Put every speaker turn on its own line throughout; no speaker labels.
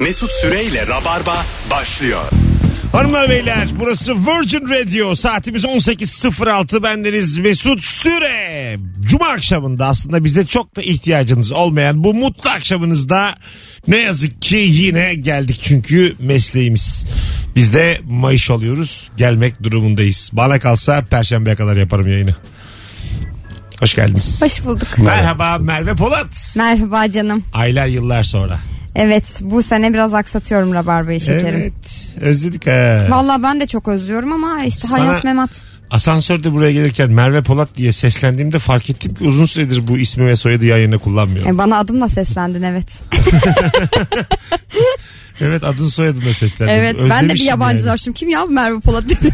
Mesut Süreyle Rabarba başlıyor.
Hanımlar beyler burası Virgin Radio saatimiz 18.06 bendeniz Mesut Süre. Cuma akşamında aslında bize çok da ihtiyacınız olmayan bu mutlu akşamınızda ne yazık ki yine geldik çünkü mesleğimiz. Biz de maaş alıyoruz gelmek durumundayız. Bana kalsa perşembeye kadar yaparım yayını. Hoş geldiniz.
Hoş bulduk.
Merhaba Merve Polat.
Merhaba canım.
Aylar yıllar sonra.
Evet bu sene biraz aksatıyorum rabarbayı şekerim.
Evet özledik ha.
Vallahi ben de çok özlüyorum ama işte
Sana-
hayat memat.
Asansörde buraya gelirken Merve Polat diye seslendiğimde fark ettim ki uzun süredir bu ismi ve soyadı yayına kullanmıyorum.
E, bana adımla seslendin evet.
Evet adın soyadına seslendim.
evet ben de bir
Özlemişim yani.
yabancılaştım. Kim ya bu Merve Polat dedim.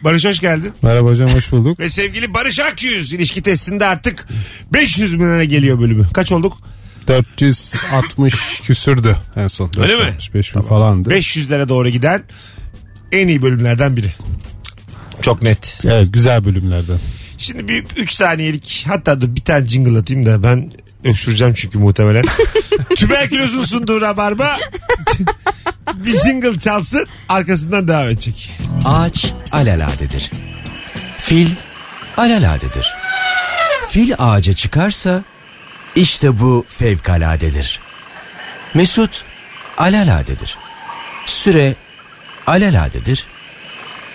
Barış hoş geldin.
Merhaba hocam hoş bulduk.
Ve sevgili Barış Akyüz ilişki testinde artık 500 milyona geliyor bölümü. Kaç olduk?
460 küsürdü en son.
Öyle mi?
465 bin falandı.
500'lere doğru giden en iyi bölümlerden biri. Çok net.
Evet güzel bölümlerden.
Şimdi bir 3 saniyelik hatta da bir tane jingle atayım da ben öksüreceğim çünkü muhtemelen. Tüberkülozun sunduğu rabarba bir jingle çalsın arkasından devam edecek.
Ağaç alaladedir. Fil alaladedir. Fil ağaca çıkarsa işte bu fevkaladedir. Mesut alaladedir. Süre alaladedir.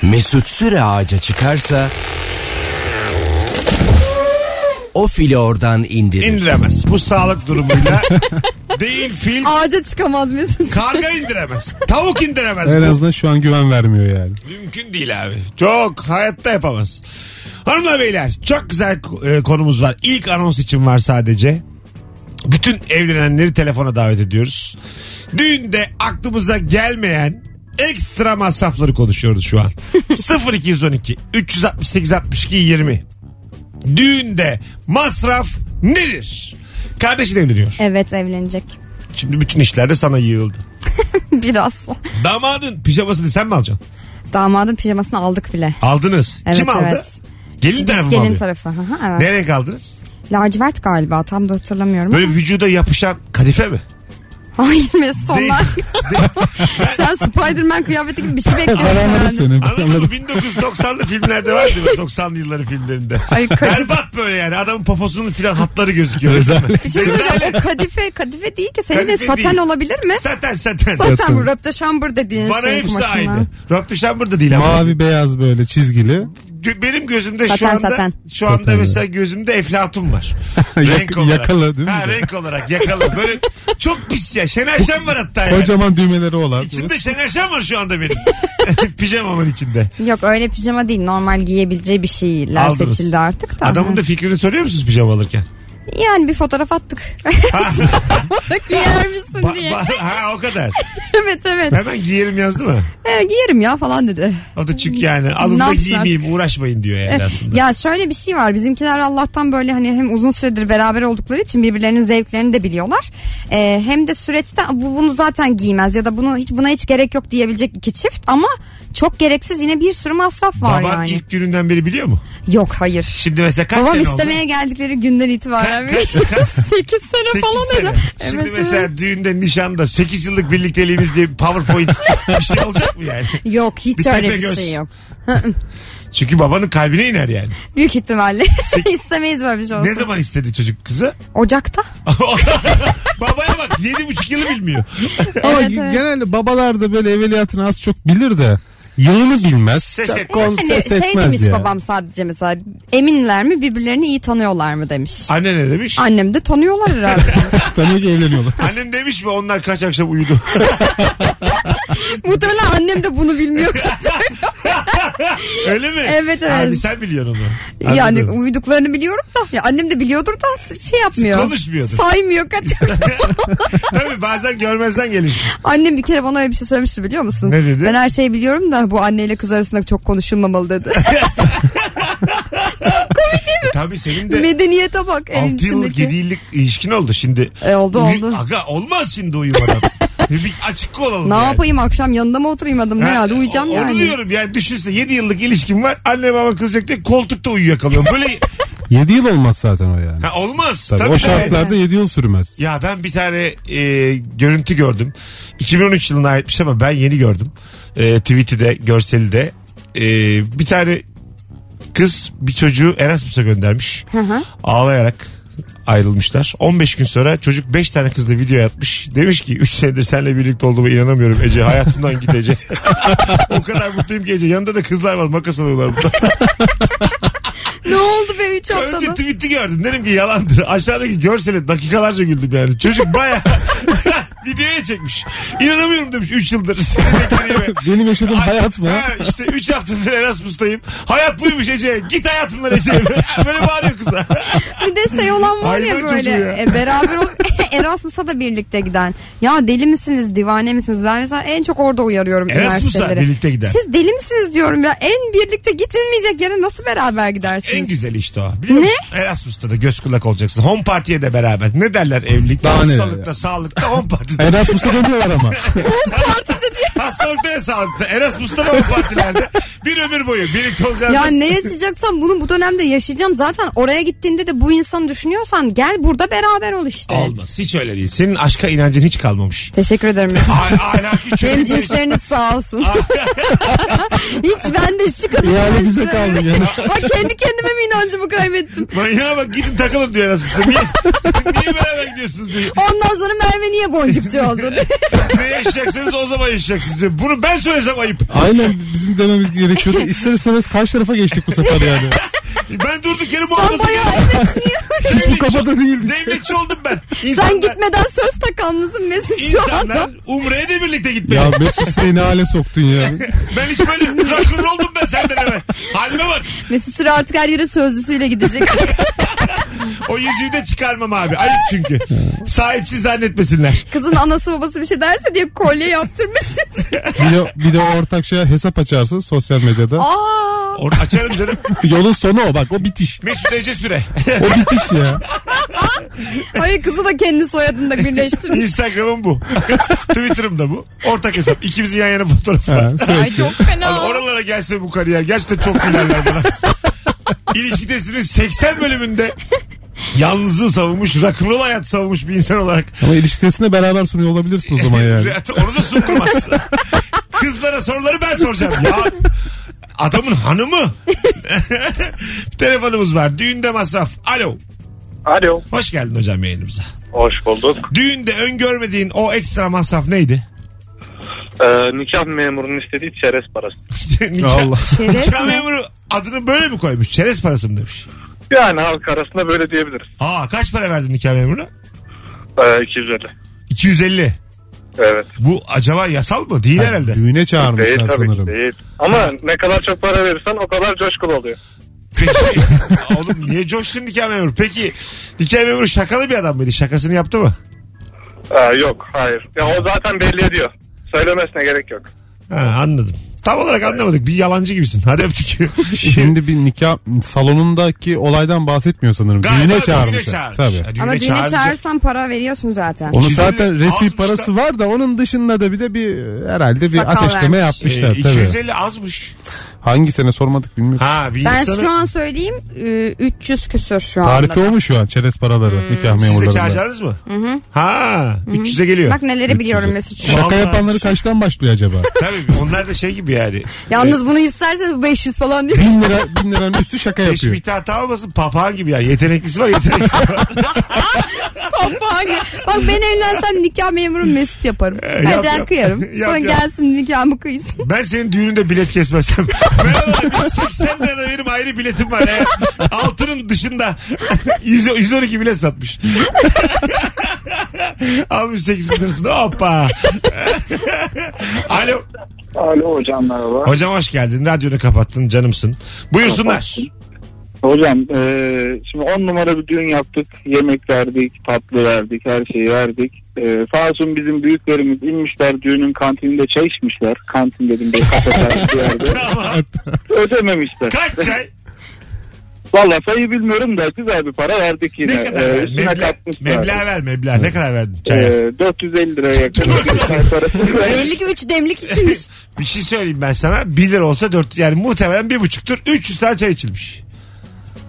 Mesut Süre ağaca çıkarsa o fili oradan indirir.
indiremez. Bu sağlık durumuyla değil fil
Ağaca çıkamaz mısın?
karga indiremez. Tavuk indiremez.
En
Bu
azından şu an güven vermiyor yani.
Mümkün değil abi. Çok hayatta yapamaz. Hanımlar beyler çok güzel e, konumuz var. İlk anons için var sadece. Bütün evlenenleri telefona davet ediyoruz. Düğünde aklımıza gelmeyen ekstra masrafları konuşuyoruz şu an. 0212 368 62 20. Düğünde masraf nedir? Kardeşin evleniyor.
evet evlenecek.
Şimdi bütün işler de sana yığıldı.
biraz.
Damadın pijamasını sen mi alacaksın?
Damadın pijamasını aldık bile.
Aldınız.
Evet,
Kim aldı?
evet.
Gelin tarafı
Biz
mı
gelin
alıyor?
tarafı. Hı hı, evet.
Nereye kaldınız?
Lacivert galiba tam da hatırlamıyorum.
Böyle vücuda yapışan kadife mi?
Hayır Mesut
Değil.
onlar. Sen Spiderman kıyafeti gibi bir şey bekliyorsun
Anladım
yani.
seni.
Anladın mı?
Anladım.
1990'lı filmlerde vardı böyle 90'lı yılların filmlerinde.
Ay, kadife.
Berbat böyle yani adamın poposunun filan hatları gözüküyor.
Rezalet.
Bir şey söyleyeceğim. O kadife, kadife değil ki. Senin de
Kadife
saten
değil.
olabilir mi?
Zaten zaten.
Zaten
Saten.
bu röpte şambır dediğin
Bana
şey
hepsi
kumaşından.
aynı. Rob Düşember da değil ama.
Mavi beyaz böyle çizgili.
Gö- Benim gözümde şu
Saten,
anda
saten.
şu anda
Saten,
mesela gözümde eflatun var.
Yak-
renk olarak.
yakalı değil mi?
Ha, renk olarak yakalı. Böyle çok pis ya. Şener Şen var hatta yani.
Kocaman düğmeleri olan.
İçinde Şener Şen var şu anda benim. Pijamamın içinde.
Yok öyle pijama değil. Normal giyebileceği bir şeyler
Aldınız.
seçildi artık da.
Adamın da fikrini soruyor musunuz pijama alırken?
Yani bir fotoğraf attık. Giyer misin
Ba-
diye.
ba- ha o kadar.
evet evet.
Hemen giyerim yazdı mı?
E, giyerim ya falan dedi.
O da çünkü yani
Ne
alın da
yapsın
giymeyeyim uğraşmayın diyor yani aslında.
Ya şöyle bir şey var. Bizimkiler Allah'tan böyle hani hem uzun süredir beraber oldukları için birbirlerinin zevklerini de biliyorlar. Ee, hem de süreçte bu bunu zaten giymez ya da bunu hiç buna hiç gerek yok diyebilecek iki çift ama çok gereksiz yine bir sürü masraf var
Baban
yani.
ilk gününden beri biliyor mu?
Yok hayır.
Şimdi mesela kaç
Babam
sene
istemeye
oldu?
geldikleri günden itibaren
Ka-
8 sene
Sekiz
falan
sene.
öyle.
Şimdi
Evet,
mesela
evet.
düğünde nişanda 8 yıllık birlikteliğimiz diye bir powerpoint bir şey olacak mı yani?
Yok hiç
Bir
öyle
tepe
bir
göz.
şey yok.
Çünkü babanın kalbine iner yani.
Büyük ihtimalle istemeyiz böyle bir şey olsun.
Ne zaman istedi çocuk kızı?
Ocakta?
Babaya bak 7,5 yılı bilmiyor.
Ama
Evet,
g-
evet.
genelde babalar da böyle evveliyatını az çok bilir de yılını bilmez.
Ses
Çok
etmez.
kon-
Hani
ses
şey
etmez
demiş
yani.
babam sadece mesela eminler mi birbirlerini iyi tanıyorlar mı demiş.
Anne ne demiş?
Annem de tanıyorlar herhalde.
Tanıyor ki evleniyorlar.
Annem demiş mi onlar kaç akşam uyudu?
Muhtemelen annem de bunu bilmiyor.
Öyle mi?
Evet, evet.
Abi sen biliyorsun onu.
yani um-
Anladım.
uyuduklarını biliyorum da. Ya annem de biliyordur da şey yapmıyor.
Konuşmuyordur.
Saymıyor kaçıyor.
Tabii bazen görmezden gelir.
annem bir kere bana öyle bir şey söylemişti biliyor musun?
Ne dedi?
Ben her şeyi biliyorum da bu anneyle kız arasında çok konuşulmamalı dedi.
E Tabii senin de
Medeniyete bak evin
6 yıllık
içindeki.
7 yıllık ilişkin oldu şimdi.
E, oldu,
Uyu-
oldu.
Aga olmaz şimdi uyumadan. bir bir açık olalım
Ne
yani.
yapayım akşam yanında mı oturayım adam
Ha,
herhalde uyuyacağım
o-
yani.
Onu diyorum yani düşünse 7 yıllık ilişkim var anne baba kızacak diye koltukta uyuyakalıyorum. Böyle
7 yıl olmaz zaten o yani.
Ha, olmaz.
Tabii,
Tabii.
o şartlarda 7 yıl sürmez.
Ya ben bir tane e, görüntü gördüm. 2013 yılına aitmiş ama ben yeni gördüm. E, tweet'i de görseli de. E, bir tane kız bir çocuğu Erasmus'a göndermiş. Ağlayarak ayrılmışlar. 15 gün sonra çocuk 5 tane kızla video atmış. Demiş ki 3 senedir seninle birlikte olduğuma inanamıyorum Ece. Hayatımdan git Ece. o kadar mutluyum ki Ece. Yanında da kızlar var makas alıyorlar burada.
ne oldu be 3
Önce
haftada?
tweet'i gördüm. Dedim ki yalandır. Aşağıdaki görsele dakikalarca güldüm yani. Çocuk baya videoya çekmiş. İnanamıyorum demiş 3 yıldır. Seni beklediğime.
Benim yaşadığım
Ay-
hayat mı?
Ha, işte 3 haftadır Erasmus'tayım. Hayat buymuş Ece. Git hayatımdan Ece. Böyle bağırıyor kıza.
Bir de şey olan var
Hayvan
ya
çocuğu
böyle
ya.
e, beraber olup Erasmus'a da birlikte giden. Ya deli misiniz divane misiniz? Ben mesela en çok orada uyarıyorum
Erasmus'a
üniversiteleri.
birlikte giden.
Siz deli misiniz diyorum ya. En birlikte gidilmeyecek yere nasıl beraber gidersiniz?
En güzeli işte o. Biliyor musun? Erasmus'ta da göz kulak olacaksın. Home partiye de beraber. Ne derler evlilikte?
Daha neler
hastalıkta, sağlıkta, home partide.
Erasmus'a dönüyorlar ama.
hastalıkta ve sağlıkta. Erasmus'ta da home partilerde. Bir ömür boyu birlikte olacaksın.
Ya ne yaşayacaksam bunu bu dönemde yaşayacağım. Zaten oraya gittiğinde de bu insanı düşünüyorsan gel burada beraber ol işte.
Olmaz. Hiç öyle değil. Senin aşka inancın hiç kalmamış.
Teşekkür ederim. Mesut.
A- ahlaki
Benim
çökmüş.
cinsleriniz sağ olsun. Hiç ben de şu kadar.
İhale bize kaldı yani.
Bak kendi kendime mi inancımı kaybettim?
Manyağa bak gidin takılın diyor Erasmus'ta. Niye, niye beraber gidiyorsunuz diyor.
Ondan sonra Merve niye boncukçu oldu?
Ne yaşayacaksınız o zaman yaşayacaksınız diyor. Bunu ben söylesem ayıp.
Aynen bizim dememiz gerekiyordu. İster istemez karşı tarafa geçtik bu sefer yani.
Ben durduk yere
Sen
muhabbası
bayağı
geldim.
evet niye?
Hiç bu kafada değildik.
Devletçi oldum ben.
Sen gitmeden söz takanlısın Mesut şu anda.
İnsanlar Umre'ye de birlikte gitmeli.
Ya Mesut seni ne hale soktun ya.
Ben hiç böyle rakır oldum ben senden hemen. Halime bak.
Mesut Süre artık her yere sözlüsüyle gidecek.
O yüzüğü de çıkarmam abi. Ayıp çünkü. Sahipsiz zannetmesinler.
Kızın anası babası bir şey derse diye kolye yaptırmışız.
Bir de, bir de ortak şey hesap açarsın sosyal medyada.
Aa,
Onu açarım canım.
Yolun sonu o bak o bitiş.
Mesut Ece Süre.
O bitiş ya.
hayır kızı da kendi soyadında birleştirmiş.
Instagram'ım bu. Twitter'ım da bu. Ortak hesap. İkimizin yan yana fotoğrafı var.
Ha,
Ay
sürekli.
çok fena.
Abi oralara gelse bu kariyer gerçekten çok gülerler bana. İlişkidesinin 80 bölümünde yalnızlığı savunmuş, rock'n'roll hayat savunmuş bir insan olarak
Ama ilişkisini beraber sunuyor olabilirsin o zaman yani.
hayatı onu da sundurmaz. Kızlara soruları ben soracağım. Ya adamın hanımı. Telefonumuz var. Düğünde masraf. Alo.
Alo.
Hoş geldin hocam yayınımıza.
Hoş bulduk.
Düğünde öngörmediğin o ekstra masraf neydi?
Ee, nikah memurunun istediği çerez parası.
nikah,
Allah.
Çerez
nikah
mi?
memuru adını böyle mi koymuş? Çerez parası mı demiş?
Yani halk arasında böyle diyebiliriz.
Aa kaç para verdin nikah memuruna?
Ee, 250.
250.
Evet.
Bu acaba yasal mı? Değil şey herhalde.
Düğüne
Değil
çağırmışlar
tabii ki
sanırım.
değil. Ama ne kadar çok para verirsen o kadar coşkulu oluyor.
Peki. Oğlum niye coştun nikah memuru? Peki nikah memuru şakalı bir adam mıydı? Şakasını yaptı mı?
Ee, yok hayır. Ya o zaten belli ediyor. Söylemesine gerek yok.
Ha, anladım. Tam olarak anlamadık. Bir yalancı gibisin. Hadi öptük.
Şimdi bir nikah salonundaki olaydan bahsetmiyor sanırım.
Galiba
düğüne çağırmışlar.
çağırmış.
Tabii.
Ha, düğüne
Ama düğüne
çağırınca-
çağırırsan para veriyorsun zaten.
Onun
Şimdi
zaten resmi
azmışlar.
parası var da onun dışında da bir de bir herhalde bir
Sakal
ateşleme
vermiş.
Ee,
yapmışlar tabii.
250 azmış.
Hangi sene sormadık bilmiyorum.
Ha bir
Ben
insanı
şu an söyleyeyim e, 300 küsür şu anda.
Tarifi olmuş şu an çerez paraları
Hmm.
nikah
siz de
memurlarında.
çağıracağınız mı? Ha 300'e geliyor.
Bak neleri biliyorum Mesut. şu an.
Şaka
Vallahi-
yapanları kaçtan başlıyor acaba?
Tabii onlar da şey gibi yani.
Yalnız bunu isterseniz 500 falan diyor.
bin lira bin liranın üstü şaka yapıyor.
Teşbihte hata olmasın papağan gibi yani. Yeteneklisi var yeteneksiz var.
Papağan gibi. Bak ben evlensem nikah memuru Mesut yaparım.
Ee, yap,
Hacer
yap.
kıyarım.
Yap,
Sonra
yap.
gelsin nikahımı kıysın.
Ben senin düğününde bilet kesmezsem. Merhaba biz 80 lira da benim ayrı biletim var. ya. Altının dışında. 100, 112 bilet satmış. Almış 8 bin lirasını. Hoppa. Alo.
Alo hocam merhaba.
Hocam hoş geldin. Radyonu kapattın canımsın. Buyursunlar.
Hocam eee, şimdi on numara bir düğün yaptık. Yemek verdik, tatlı verdik, her şeyi verdik. Eee sağ olsun bizim büyüklerimiz inmişler düğünün kantininde çay içmişler. Kantin dedim bir kafeterya bir yerde.
E,
Tamam.
Ödememişler.
Kaç çay?
Valla sayı bilmiyorum da güzel bir para verdik yine.
Ne kadar
Eee,
verdin?
üstüne
Meblağ,
katmışlar. E,
meblağ ver meblağ. Ne kadar verdin çaya?
Eee, 450 liraya yakın bir çay parası verdik.
Belli ki 3 demlik içilmiş.
Bir şey söyleyeyim ben sana. 1 lira olsa 4 yani muhtemelen 1,5'tür. 300 tane çay içilmiş.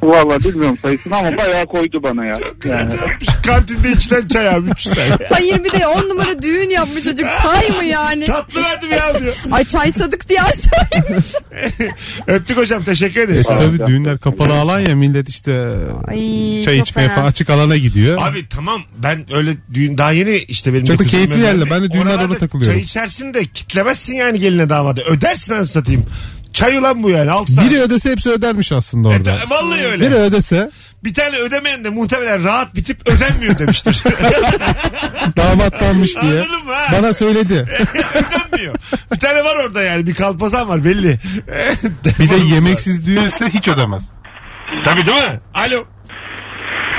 Valla bilmiyorum sayısını ama bayağı koydu bana ya.
Çok güzel çalmış. Kantinde içten çay abi üç tane.
Hayır bir de on numara düğün yapmış çocuk. Çay mı yani?
Tatlı verdim ya diyor.
Ay çay sadık diye aşağıymış.
Öptük hocam teşekkür ederiz.
E tabii düğünler kapalı alan ya millet işte
Ay,
çay
çok
içmeye
fena.
falan açık alana gidiyor.
Abi tamam ben öyle düğün daha yeni işte benim
Çok da
de kızım
keyifli
evlendi.
yerler. Ben de düğünlerde
Oralarda
orada takılıyorum.
Çay içersin de kitlemezsin yani geline damadı. Ödersin anasını satayım. Çay ulan bu yani 6 saat.
Biri ödese hepsi ödermiş aslında
E,
orada.
ta- Vallahi öyle.
Biri ödese
Bir tane ödemeyen de muhtemelen rahat bitip ödenmiyor demiştir.
damatlanmış diye.
Anladın mı ha?
Bana söyledi.
ödenmiyor. Bir tane var orada yani bir kalpazan var belli.
Bir de yemeksiz düğünse hiç ödemez.
Tabii değil mi? Alo.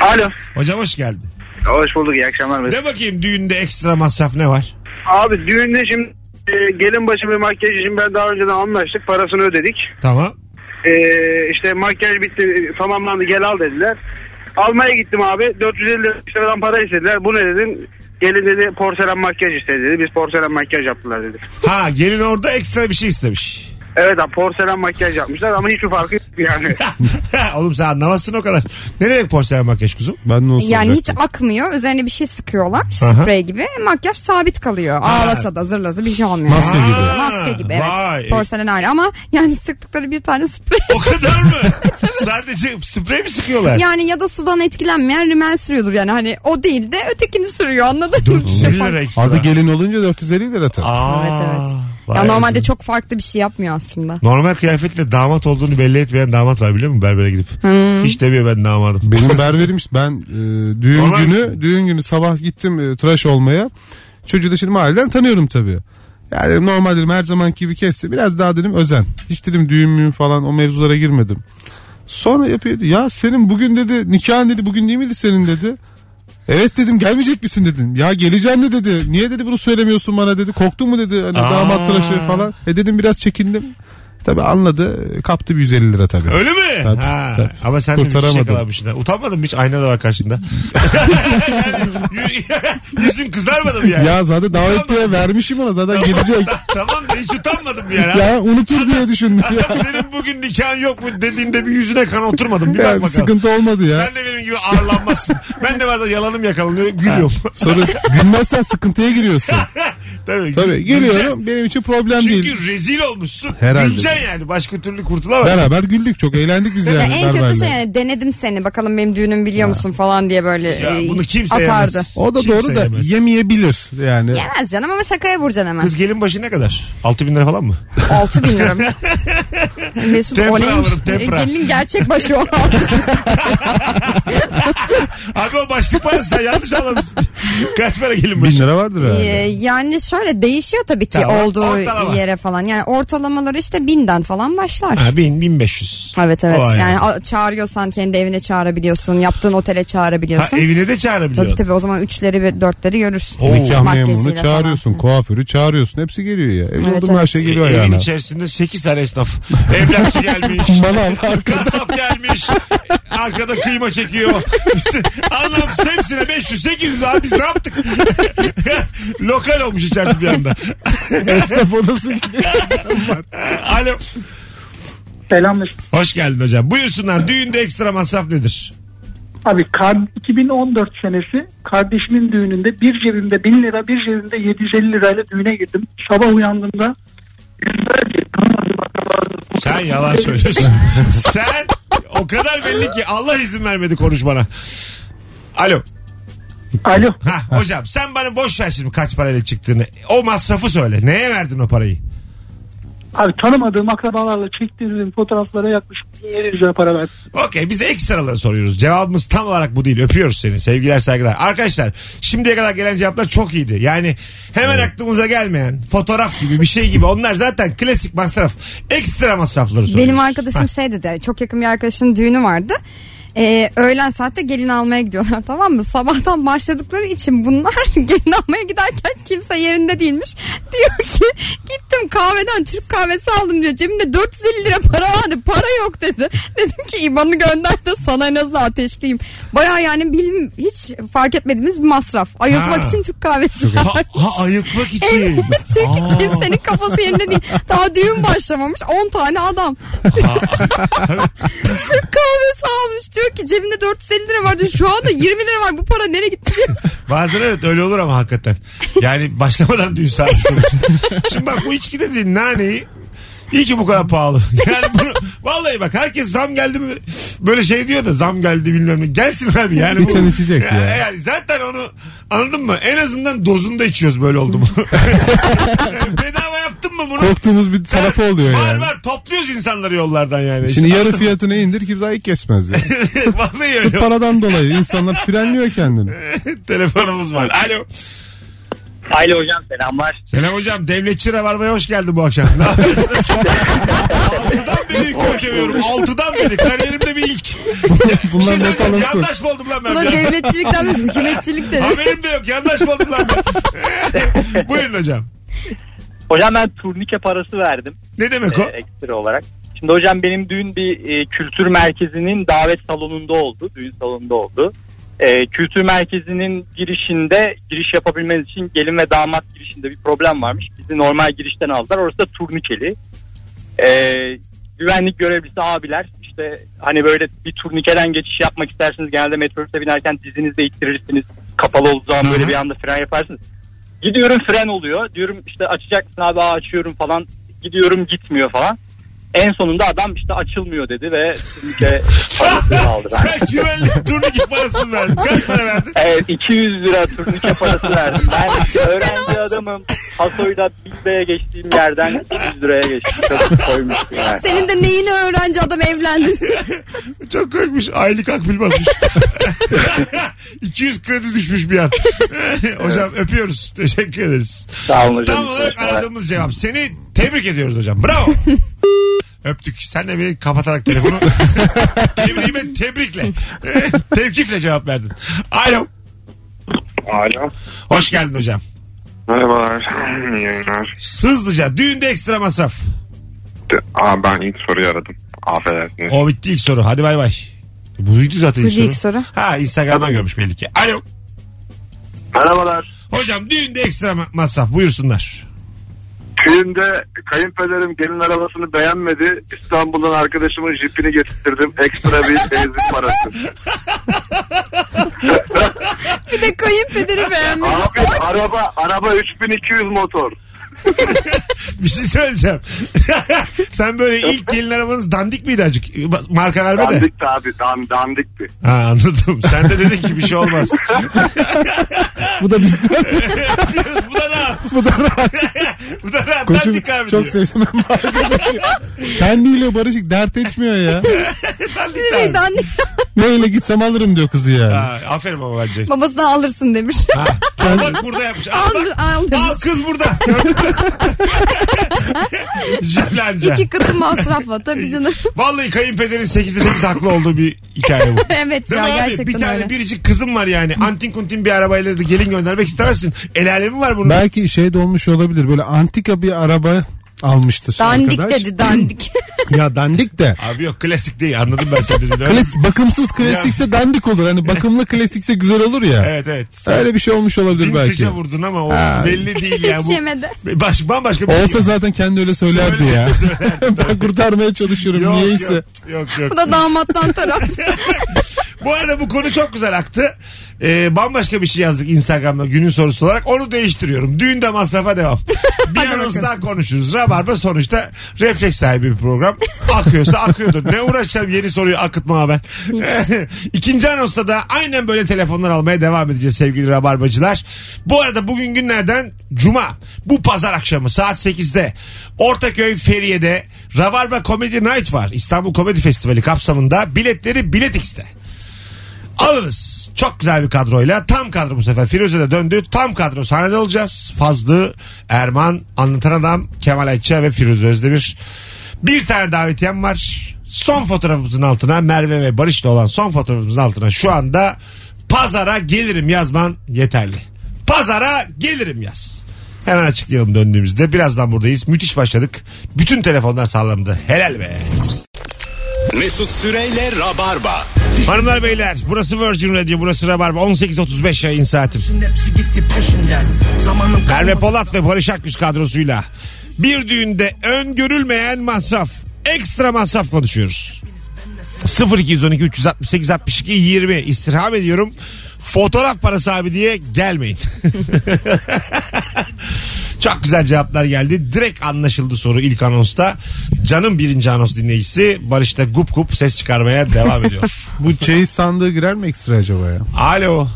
Alo.
Hocam hoş geldin.
Hoş bulduk iyi akşamlar.
De bakayım düğünde ekstra masraf ne var?
Abi düğünde şimdi e, gelin başı ve makyaj için ben daha önceden anlaştık parasını ödedik.
Tamam.
Ee, işte makyaj bitti Ee, tamamlandı gel al dediler. Almaya gittim abi 450 liradan para istediler. Bu ne dedin? Gelin dedi porselen makyaj istedi dedi. Biz porselen makyaj yaptılar dedi.
Ha gelin orada ekstra bir şey istemiş.
Evet abi porselen makyaj yapmışlar ama hiçbir farkı yok yani.
Oğlum sen anlamazsın o kadar. Ne demek porselen makyaj kuzum?
Ben ne olsun
Yani hiç
olacaktım.
akmıyor. Üzerine bir şey sıkıyorlar.
Aha.
Sprey gibi. Makyaj sabit kalıyor. Ağlasa da zırlasa bir şey olmuyor.
Maske gibi.
Aa,
Maske gibi evet.
vay.
Porselen ayrı ama yani sıktıkları bir tane sprey.
O kadar mı? Sadece sprey mi sıkıyorlar?
Yani ya da sudan etkilenmeyen rimel sürüyordur yani hani o değil de ötekini sürüyor anladın mı? Bir şey
Bir
fark-
lira
Ya
ekstra.
Adı gelin olunca 450 lira tabii.
Aa,
Evet, evet.
vay
normalde
be.
çok farklı bir şey yapmıyor aslında.
Normal kıyafetle damat olduğunu belli etmeyen damat var biliyor musun berbere gidip.
Hmm.
Hiç demiyor ben damadım.
Benim berberimmiş ben e, düğün
Normal.
günü düğün günü sabah gittim e, tıraş olmaya. Çocuğu da şimdi mahalleden tanıyorum tabii. Yani dedim, normal dedim her zamanki gibi kesse biraz daha dedim özen. Hiç dedim düğün mü falan o mevzulara girmedim. Sonra yapıyordu ya senin bugün dedi nikahın dedi bugün değil miydi senin dedi. Evet dedim gelmeyecek misin dedim. Ya geleceğim de dedi. Niye dedi bunu söylemiyorsun bana dedi. Korktun mu dedi hani
Aa.
damat tıraşı falan. E dedim biraz çekindim. Tabii anladı. Kaptı bir 150 lira tabii.
Öyle mi?
Tabii,
ha.
tabii.
Ama sen de müthiş
Kurtaramadım.
yakalamışsın. ha. Utanmadın mı hiç? Ayna da var karşında. yani, yüzün kızarmadı mı yani?
Ya zaten davet diye vermişim ona zaten gelecek.
Tamam da hiç utanmadım mı yani?
ya unutur diye düşündüm ya.
Senin bugün nikahın yok mu dediğinde bir yüzüne kan oturmadım. Bir bak
Ya
bakalım.
sıkıntı olmadı ya.
Sen de benim gibi ağırlanmazsın. ben de bazen yalanım yakalanıyor. Gülüyorum.
Sonra gülmezsen sıkıntıya giriyorsun.
Tabii.
Tabii
Güleceksin.
geliyorum benim için problem
Çünkü
değil.
rezil olmuşsun.
Herhalde.
Güleceksin yani. Başka türlü kurtulamazsın.
Beraber güldük çok eğlendik biz yani.
Ya en kötü
berberle.
şey yani denedim seni bakalım benim düğünüm biliyor musun falan diye böyle
Ya
e,
bunu kimse
atardı.
yemez.
O da
Kimse
doğru da
yemez.
yemeyebilir yani.
Yemez canım ama şakaya vuracaksın hemen.
Kız gelin başı ne kadar? 6000 bin lira falan mı?
6 bin lira. mı? Mesut
Tempra
o neymiş?
alırım, tempra.
E, Gelinin gerçek başı o.
Abi o başlık parası sen yanlış anlamışsın. Kaç para gelin
Bin
başı?
lira vardır
E,
herhalde.
yani şöyle değişiyor tabii ki
Tamam.
olduğu
Ortalama.
yere falan. Yani ortalamaları işte binden falan başlar.
Ha, bin, bin beş yüz.
Evet evet.
O aynı.
Yani a- çağırıyorsan kendi evine çağırabiliyorsun. Yaptığın otele
Ha,
çağırabiliyorsun.
evine de
Tabii
çağırabiliyorsun.
tabii o zaman üçleri ve dörtleri görürsün.
Oo.
Nikah memurunu
Makyajıyla
çağırıyorsun, kuaförü çağırıyorsun. Hepsi geliyor ya. Evin
Evet,
olduğum her
evet.
şey geliyor
Evin
ayağına.
içerisinde 8 tane esnaf. Emlakçı gelmiş.
Bana fark-
Kasap gelmiş. Arkada kıyma çekiyor. Anlamsız hepsine 500 800 abi biz ne yaptık? Lokal olmuş içerisi bir anda.
esnaf odası gibi.
Alo.
Selamlar.
Hoş geldin hocam. Buyursunlar düğünde ekstra masraf nedir?
Abi kar- 2014 senesi kardeşimin düğününde bir cebimde 1000 lira bir cebimde 750 lirayla düğüne girdim. Sabah uyandığımda yüzlerce tanımadığım akrabalarım.
Sen yalan söylüyorsun. Sen o kadar belli ki Allah izin vermedi konuşmana. Alo.
Alo.
Ha hocam sen bana boş ver şimdi kaç parayla çıktığını. O masrafı söyle. Neye verdin o parayı?
Abi tanımadığım akrabalarla çektirdiğim fotoğraflara yaklaşık 1700 lira para verdim.
Okey biz ekstraları soruyoruz. Cevabımız tam olarak bu değil. Öpüyoruz seni. Sevgiler saygılar. Arkadaşlar şimdiye kadar gelen cevaplar çok iyiydi. Yani hemen aklımıza gelmeyen fotoğraf gibi bir şey gibi onlar zaten klasik masraf. Ekstra masrafları soruyoruz.
Benim arkadaşım
Ha,
şey dedi çok yakın bir arkadaşının düğünü vardı. Ee, öğlen saatte gelin almaya gidiyorlar tamam mı? Sabahtan başladıkları için bunlar gelin almaya giderken kimse yerinde değilmiş. Diyor ki Gittim kahveden Türk kahvesi aldım diyor. Cebimde 450 lira para vardı. Para yok dedi. Dedim ki İban'ı gönder de sana en azından ateşleyeyim. Baya yani bilim hiç fark etmediğimiz bir masraf. Ayırtmak
Ha.
için Türk kahvesi
Ha,
var.
ha ayıkmak
Evet,
için.
Çünkü
Aa.
kimsenin kafası yerinde değil. Daha düğün başlamamış 10 tane adam. Türk kahvesi almış diyor ki cebinde 450 lira vardı. Şu anda 20 lira var bu para nereye gitti diyor.
Bazen evet öyle olur ama hakikaten. Yani başlamadan düğün saati olur. Şimdi bak bu içki dediğin naneyi İyi ki bu kadar pahalı. Yani bunu, vallahi bak herkes zam geldi mi böyle şey diyor da zam geldi bilmem ne. Gelsin abi yani.
İçen içecek
Yani,
ya.
yani zaten onu anladın mı? En azından dozunda içiyoruz böyle oldu mu? Yani bedava yaptın mı bunu?
Korktuğumuz bir tarafı oluyor
var
yani.
var topluyoruz insanları yollardan yani.
Şimdi yarı fiyatını indir kimse ayık kesmez ya.
vallahi öyle.
Sırf paradan dolayı insanlar frenliyor kendini.
Telefonumuz var. Alo.
Aile hocam selamlar.
Selam hocam. Devletçi Rabarba'ya hoş geldin bu akşam. Ne yapıyorsunuz? Altıdan beri kök övüyorum. Altıdan beri. Kariyerimde bir ilk. Bir şey
Bunlar not
söyleyeceğim.
alınsın.
Yandaş mı oldum lan ben?
Buna
biraz?
devletçilikten biz hükümetçilik dedi.
Haberim de yok. Yandaş mı oldum lan ben? Buyurun hocam.
Hocam ben turnike parası verdim
Ne demek
e,
o?
ekstra olarak. Şimdi hocam benim düğün bir e, kültür merkezinin davet salonunda oldu. Düğün salonunda oldu. E, kültür merkezinin girişinde giriş yapabilmeniz için gelin ve damat girişinde bir problem varmış. Bizi normal girişten aldılar. Orası da turnikeli. E, güvenlik görevlisi abiler işte hani böyle bir turnikeden geçiş yapmak istersiniz. Genelde metrobüse binerken dizinizle ittirirsiniz. Kapalı olduğu zaman böyle bir anda fren yaparsınız. Gidiyorum fren oluyor. Diyorum işte açacaksın abi aa, açıyorum falan. Gidiyorum gitmiyor falan. En sonunda adam işte açılmıyor dedi ve turnike parasını aldı. Ben.
Sen güvenlik turnike parasını verdin. Kaç para verdin?
Evet 200 lira turnike parası verdim. Ben öğrenci adamım. Hasoy'da Bilbe'ye geçtiğim yerden 200 liraya geçtim. Çok koymuştu yani.
Senin de neyini öğrenci adam evlendin.
Çok koymuş. Aylık akbil basmış. 200 kredi düşmüş bir an. hocam öpüyoruz. Teşekkür ederiz.
Sağ olun hocam.
Tam olarak aradığımız cevap. Seni tebrik ediyoruz hocam. Bravo. Öptük. Sen de beni kapatarak telefonu. Tebriğime tebrikle. Tevkifle cevap verdin. Alo.
Alo.
Hoş geldin hocam.
Merhabalar. İyi yayınlar.
Hızlıca düğünde ekstra masraf.
Aa, ben ilk soruyu aradım. Affedersiniz.
O bitti ilk soru. Hadi bay bay. Buydu zaten ilk
Buydu
soru.
ilk soru.
Ha Instagram'dan görmüş belli ki. Alo.
Merhabalar.
Hocam düğünde ekstra ma- masraf buyursunlar.
Düğünde kayınpederim gelin arabasını beğenmedi. İstanbul'dan arkadaşımın jipini getirdim. Ekstra bir benzin parası.
Bir de kayınpederi beğenmiş.
Abi araba, araba 3200 motor.
Bir şey söyleyeceğim. Sen böyle ilk gelin arabanız dandik miydi acık? Marka verme de.
Dandikti abi dan, dandikti.
Ha anladım. Sen de dedin ki bir şey olmaz.
Bu da bizden.
Yapıyoruz. Bu da rahat.
Bu da rahat.
Bu da rahat.
Koçum
dandik abi
çok
diyor.
sevmem. Kendiyle barışık dert etmiyor ya.
Dandik abi.
Neydi anne?
Neyle gitsem alırım diyor kızı ya.
Ha, aferin baba bence.
Babasından alırsın demiş.
Bak burada yapmış. Al,
al,
bak.
al
Al
demiş.
kız burada. Jiplenca.
İki katı masrafla tabii canım.
Vallahi kayınpederin 8'de 8 haklı olduğu bir hikaye bu.
evet
Değil
ya
mi abi?
gerçekten
Bir tane
öyle.
biricik kızım var yani. Antin kuntin bir arabayla da gelin göndermek istemezsin. El alemi var bunun.
Belki şey de olmuş olabilir. Böyle antika bir araba almıştır
Dandik
arkadaş.
dedi dandik.
Ya dandik de.
Abi yok klasik değil anladım ben seni dediğini.
Klas, bakımsız klasikse dandik olur. Hani bakımlı klasikse güzel olur ya.
Evet evet. Sen
Öyle bir şey olmuş olabilir belki.
Vintage'e vurdun ama o
Ha.
belli değil yani.
Hiç
Bu-
yemedi.
Baş, bambaşka bir şey.
Olsa zaten kendi öyle söylerdi
Söylerdi,
ya.
söylerdi,
ben kurtarmaya çalışıyorum
Yok,
niyeyse.
yok, yok, yok.
Bu da damattan taraf.
Bu arada bu konu çok güzel aktı. Ee, bambaşka bir şey yazdık Instagram'da günün sorusu olarak. Onu değiştiriyorum. Düğünde masrafa devam. Bir anons daha konuşuruz. Rabarba sonuçta refleks sahibi bir program. Akıyorsa akıyordur. Ne uğraşacağım yeni soruyu akıtmaya ben. İkinci anonsta da aynen böyle telefonlar almaya devam edeceğiz sevgili Rabarbacılar. Bu arada bugün günlerden Cuma. Bu pazar akşamı saat 8'de Ortaköy Feriye'de Rabarba Comedy Night var. İstanbul Komedi Festivali kapsamında biletleri Biletix'te. Alırız. Çok güzel bir kadroyla. Tam kadro bu sefer. Firuze de döndü. Tam kadro sahnede olacağız. Fazlı, Erman, Anlatan Adam, Kemal Ayça ve Firuze Özdemir. Bir tane davetiyem var. Son fotoğrafımızın altına Merve ve Barış'la olan son fotoğrafımızın altına şu anda pazara gelirim yazman yeterli. Pazara gelirim yaz. Hemen açıklayalım döndüğümüzde. Birazdan buradayız. Müthiş başladık. Bütün telefonlar sallandı. Helal be.
Mesut Süreyle Rabarba.
Hanımlar beyler burası Virgin Radio burası Rabarba 18.35 yayın saatim. Merve Polat ve Barış Akgüz kadrosuyla bir düğünde öngörülmeyen masraf ekstra masraf konuşuyoruz. 0212 368 62 20 istirham ediyorum. Fotoğraf parası abi diye gelmeyin. Çok güzel cevaplar geldi. Direkt anlaşıldı soru ilk anonsta. Canım birinci anons dinleyicisi Barış'ta gup gup ses çıkarmaya devam ediyor.
Bu çeyiz sandığı girer mi ekstra acaba ya?
Alo.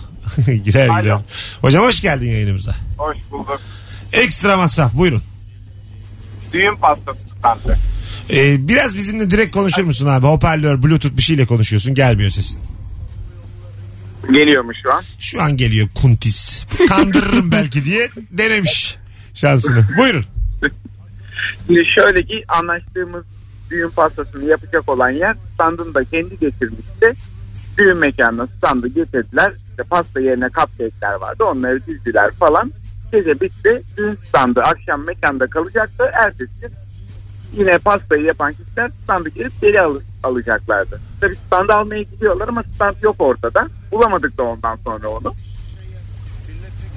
girer
Alo.
girer. Hocam hoş geldin yayınımıza.
Hoş bulduk.
Ekstra masraf buyurun.
Düğün pastası standı.
Ee, biraz bizimle direkt konuşur musun abi? Hoparlör, bluetooth bir şeyle konuşuyorsun. Gelmiyor sesin.
Geliyor mu şu an?
Şu an geliyor kuntis. Kandırırım belki diye denemiş şansını. Buyurun.
Şimdi şöyle ki anlaştığımız düğün pastasını yapacak olan yer standını da kendi getirmişti. Düğün mekanına standı getirdiler. İşte pasta yerine cupcake'ler vardı. Onları dizdiler falan. Gece bitti. Düğün standı akşam mekanda kalacaktı. Ertesi gün yine pastayı yapan kişiler standı gelip geri al- alacaklardı. Tabii standı almaya gidiyorlar ama stand yok ortada. Bulamadık da ondan sonra onu.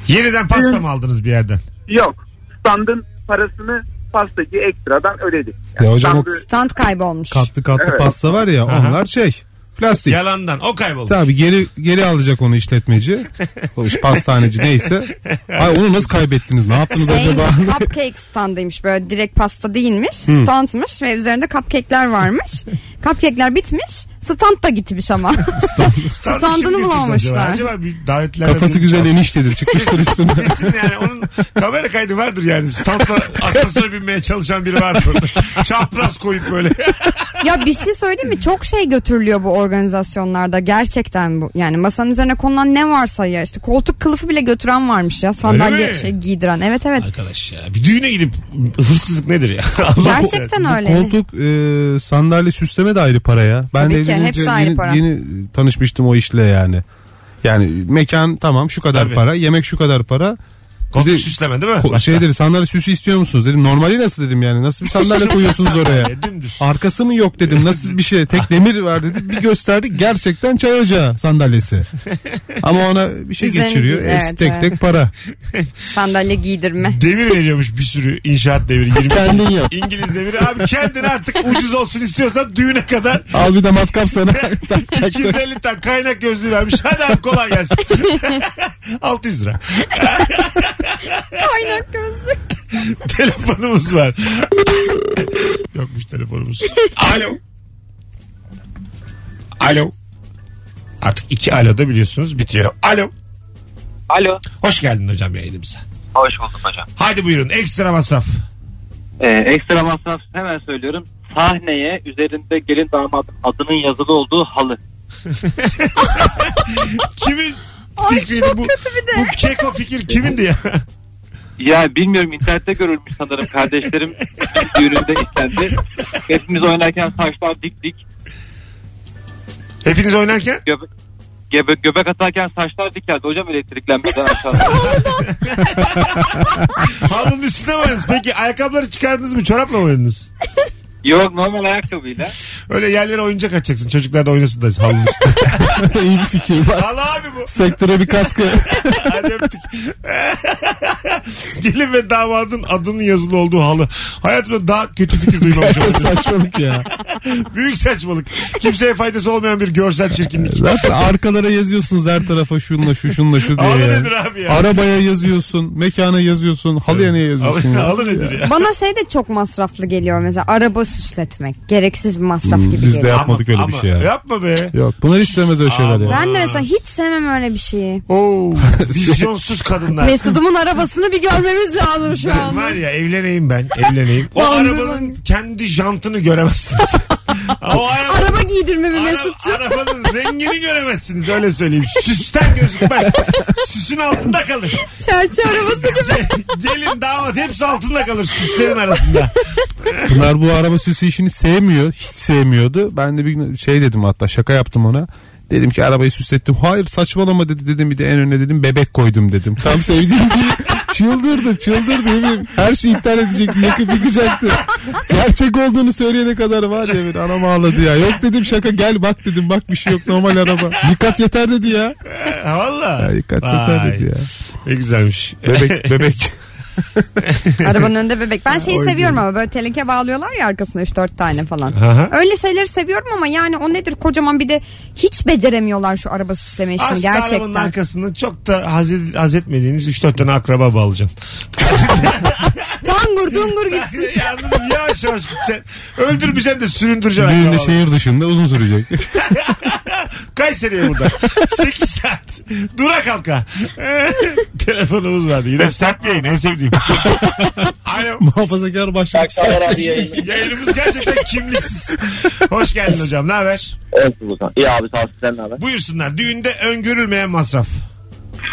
Yeniden pasta mı aldınız bir yerden?
Yok. Standın parasını pastacı ekstradan ödedik.
Ya hocam o-
standı-
Stand kaybolmuş.
Katlı katlı
Evet.
pasta var ya onlar şey plastik.
Yalandan. O kayboldu.
Tabii geri geri alacak onu işletmeci. o iş pastaneci neyse. Ay onu nasıl kaybettiniz? Ne yaptınız acaba?
Şeymiş cupcake standıymış böyle direkt pasta değilmiş standmış ve üzerinde cupcake'ler varmış. cupcake'ler bitmiş stand da gitmiş ama.
Standı kim
Standını
getirdi
bulamamışlar.
Acaba, acaba bir davetlerde...
Kafası güzel eniştedir çıkmıştır üstüne.
Kesin yani onun kamera kaydı vardır yani. Standla asansöre binmeye çalışan biri vardır. Çapraz koyup böyle.
ya bir şey söyleyeyim mi? Çok şey götürülüyor bu organizasyonlarda gerçekten bu. Yani masanın üzerine konulan ne varsa ya işte koltuk kılıfı bile götüren varmış ya. Sandalye
mi?
şey giydiren. Evet evet.
Arkadaş ya bir düğüne gidip hırsızlık nedir ya? Allah
Gerçekten öyle.
Koltuk e, sandalye süsleme de ayrı para ya. Ben
Tabii
de
ki,
evlenince
hepsi ayrı
yeni,
para.
yeni tanışmıştım o işle yani. Yani mekan tamam şu kadar
Tabii.
para, yemek şu kadar para. Bir de-
Koltuk süsleme değil mi?
Ko-
Başka.
şey dedi sandalye süsü istiyor musunuz dedim. Normali nasıl dedim yani nasıl bir sandalye koyuyorsunuz oraya.
e, Dümdüz.
Arkası mı yok dedim nasıl bir şey tek demir var dedi. Bir gösterdi gerçekten çay ocağı sandalyesi. Ama ona bir şey
Üzerine
geçiriyor.
değil,
Hepsi
evet,
tek
evet.
tek para.
Sandalye giydirme.
Demir veriyormuş bir sürü inşaat demiri. 20
Kendin yap.
İngiliz demiri. Abi kendin artık ucuz olsun istiyorsan düğüne kadar
Al bir de matkap sana. Tak, tak, tak.
250 tane kaynak gözlüğü vermiş. Hadi abi kolay gelsin. 600 lira.
Kaynak gözlük.
Telefonumuz var. Yokmuş telefonumuz. Alo. Alo. Artık iki alo da biliyorsunuz bitiyor. Alo.
Alo.
Hoş geldin hocam yayınımıza.
Hoş bulduk hocam.
Hadi buyurun ekstra masraf.
Ee, ekstra masraf hemen söylüyorum. Sahneye üzerinde gelin damat adının yazılı olduğu halı.
Kimin
Ay
fikriydi
çok
bu?
kötü bir de.
Bu keko fikir kimindi ya?
Ya bilmiyorum internette görülmüş sanırım kardeşlerim düğününde istendi. Hepimiz oynarken saçlar dik dik.
Hepiniz oynarken
Göbe göbe göbek atarken saçlar dik geldi. Hocam elektriklenmeden aşağıda.
halının üstüne mi oynadınız? Peki ayakkabıları çıkardınız mı? Çorapla mı oynadınız?
Yok normal ayakkabıyla.
Öyle yerlere oyuncak açacaksın. Çocuklar da oynasın da halının üstüne.
İyi bir fikir bak.
Halı abi bu.
Sektöre bir katkı.
Hadi öptük. Gelin ve damadın adının yazılı olduğu halı. Hayatımda daha kötü fikir duymamışım.
Saçmalık ya.
Büyük saçmalık. Kimseye faydası olmayan bir görsel çirkinlik.
Zaten arkalara yazıyorsunuz her tarafa şunla şu şunla şu diye.
Halı
ya.
nedir abi ya?
Arabaya yazıyorsun, mekana yazıyorsun, halıya niye yazıyorsun?
Halı,
ya?
halı nedir ya?
Bana şey de çok masraflı geliyor mesela araba süsletmek. Gereksiz bir masraf gibi
biz de
geliyor.
Yapmadık öyle bir şey ya.
Yapma be.
Yok bunlar hiç sevmez öyle şeyler ya.
Ben de mesela hiç sevmem öyle bir şeyi.
Oo, vizyonsuz kadınlar.
Mesut'umun arabasını bir görmemiz lazım şu
Ben
an.
var ya evleneyim ben evleneyim. O
Yalnız
arabanın kendi jantını göremezsiniz. o araba,
Araba giydirmemi
ara-
Mesut'cum.
arabanın rengini göremezsiniz öyle söyleyeyim. Süsten gözükmez. Süsün altında kalır.
Çerçe arabası gibi.
Gelin damat hepsi altında kalır süslerin arasında.
Bunlar bu araba süsü işini sevmiyor. Hiç sevmiyordu. Ben de bir gün şey dedim hatta şaka yaptım ona. Dedim ki arabayı süslettim. Hayır saçmalama dedi dedim bir de en önüne dedim bebek koydum dedim. Tam sevdiğim gibi çıldırdı çıldırdı eminim. Her şeyi iptal edecekti yakıp yıkacaktı. Gerçek olduğunu söyleyene kadar var ya bir anam ağladı ya. Yok dedim şaka gel bak dedim bak bir şey yok normal araba. Yıkat yeter dedi ya.
Valla.
Ya, dikkat yeter dedi ya.
Ne güzelmiş.
Bebek bebek.
Arabanın önünde bebek. Ben şeyi
o
seviyorum ama böyle teneke bağlıyorlar ya arkasına 3-4 tane falan.
Aha.
Öyle şeyleri seviyorum ama yani o nedir kocaman bir de hiç beceremiyorlar şu araba süsleme işini
Aslı arabanın
gerçekten.
arkasından çok da haz, haz etmediğiniz 3-4 tane akraba bağlayacaksın.
Tangur tungur gitsin.
Yalnız yavaş yavaş gideceksin. Öldürmeyeceksin de süründüreceksin.
Düğünde
akrabaları.
şehir dışında uzun sürecek.
Kayseri'ye burada. 8 saat. Dura kalka. Telefonumuz vardı. Yine sert bir yayın. En sevdiğim. Alo.
Muhafazakar başlık.
Yayınımız gerçekten kimliksiz. Hoş geldin hocam. Ne haber?
Evet Ozan. İyi abi sağ ol sizden ne haber?
Buyursunlar. Düğünde öngörülmeyen masraf.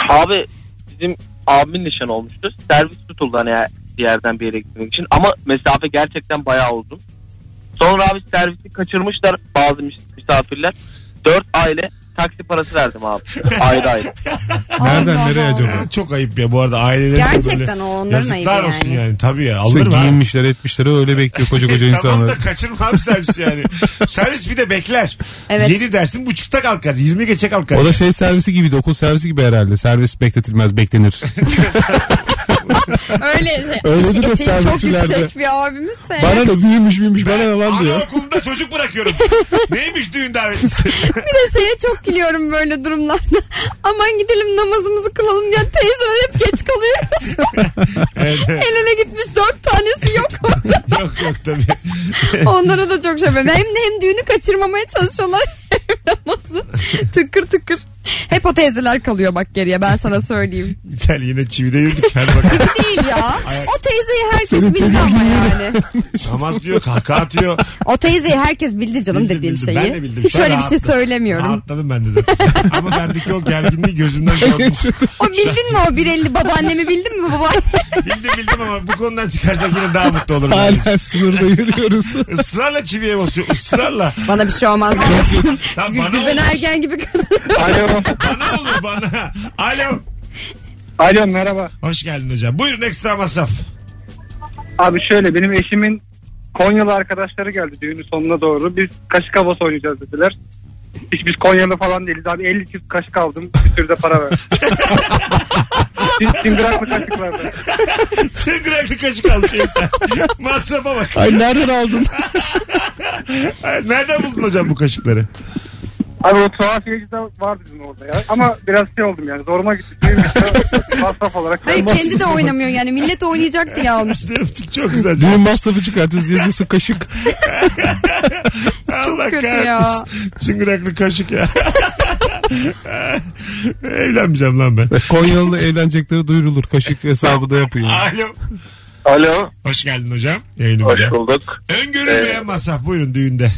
Abi bizim abimin nişanı olmuştu. Servis tutuldu hani bir yerden bir yere gitmek için. Ama mesafe gerçekten bayağı uzun. Sonra abi servisi kaçırmışlar bazı mis- misafirler. Dört aile taksi parası verdim abi. ayrı ayrı.
Nereden
Allah
nereye
Allah.
acaba?
Ya çok ayıp ya bu arada aileler
Gerçekten o onların ayıbı
Yazıklar olsun
yani.
yani. Tabii ya.
İşte
Alır mı? abi? E,
giyinmişler etmişler öyle bekliyor koca koca
Tamam da
insanlar.
kaçırma abi servis yani. servis bir de bekler.
Evet.
7 dersin buçukta kalkar. 20 geçe kalkar.
O da şey servisi gibiydi okul servisi gibi herhalde. Servis bekletilmez beklenir.
Öyle.
Öyledir de
Eteği çok
servisçilerde.
yüksek bir abimizse.
bana ne büyümüş büyümüş bana ne lan diyor.
Anaokulunda çocuk bırakıyorum. Neymiş düğün davetlisi?
Bir de şeye çok gülüyorum böyle durumlarda. Aman gidelim namazımızı kılalım diye teyzeler hep geç kalıyoruz.
evet, evet.
El ele gitmiş dört tanesi yok orada.
yok yok tabii.
Onlara da çok şey yapıyorum. Hem de hem düğünü kaçırmamaya çalışıyorlar hem namazı. Tıkır tıkır. Hep o teyzeler kalıyor bak geriye ben sana söyleyeyim.
Güzel yine çivide yürüdük. Her bak.
Gibi değil ya. O teyzeyi herkes bildi ama yani.
Namaz diyor kahkaha atıyor.
O teyzeyi herkes bildi canım
Bildim,
dediğim
bildim.
şeyi.
Ben de bildim.
Hiç
Şöyle
öyle bir şey
attım.
söylemiyorum.
Rahatladım ben de zaten. Ama bendeki o gerginliği gözümden gördüm.
O bildin mi o 1.50 babaannemi bildin mi babaanne?
bildim bildim ama bu konudan çıkarsak yine daha mutlu olurum. Yani.
Hala sınırda yürüyoruz.
Israrla çiviye basıyor. Israrla.
Bana bir şey olmaz.
Tamam, bana
Gülben
olmaz.
Ergen gibi kadın.
Alo.
Bana olur bana. Alo.
Alo merhaba.
Hoş geldin hocam. Buyurun ekstra masraf.
Abi şöyle benim eşimin Konyalı arkadaşları geldi düğünün sonuna doğru. Biz kaşık havası oynayacağız dediler. Hiç biz Konyalı falan değiliz abi. 50 çift kaşık aldım. Bir sürü de para ver. Biz Çıngıraklı kaşık verdi.
Çıngıraklı kaşık aldık elinden. Masrafa bak.
Ay nereden aldın?
Ay, Nereden buldun hocam bu kaşıkları?
Abi o tuhafiyeci de var bizim orada ya. Ama biraz şey oldum yani. Zoruma gitti. Düğün işte masraf olarak.
Hayır kendi de oynamıyor yani. Millet oynayacak diye almış.
İşte öptük çok güzel.
Düğün masrafı çıkartıyoruz yazıyorsun kaşık.
Allah
kötü
kahretsin.
ya.
Çıngıraklı kaşık ya. Evlenmeyeceğim lan ben.
Konyalı'da evlenecekleri duyurulur. Kaşık hesabı da yapıyor.
Alo.
Alo.
Hoş geldin hocam. Yayınımıza.
bulduk.
Öngörülmeyen masraf buyurun düğünde.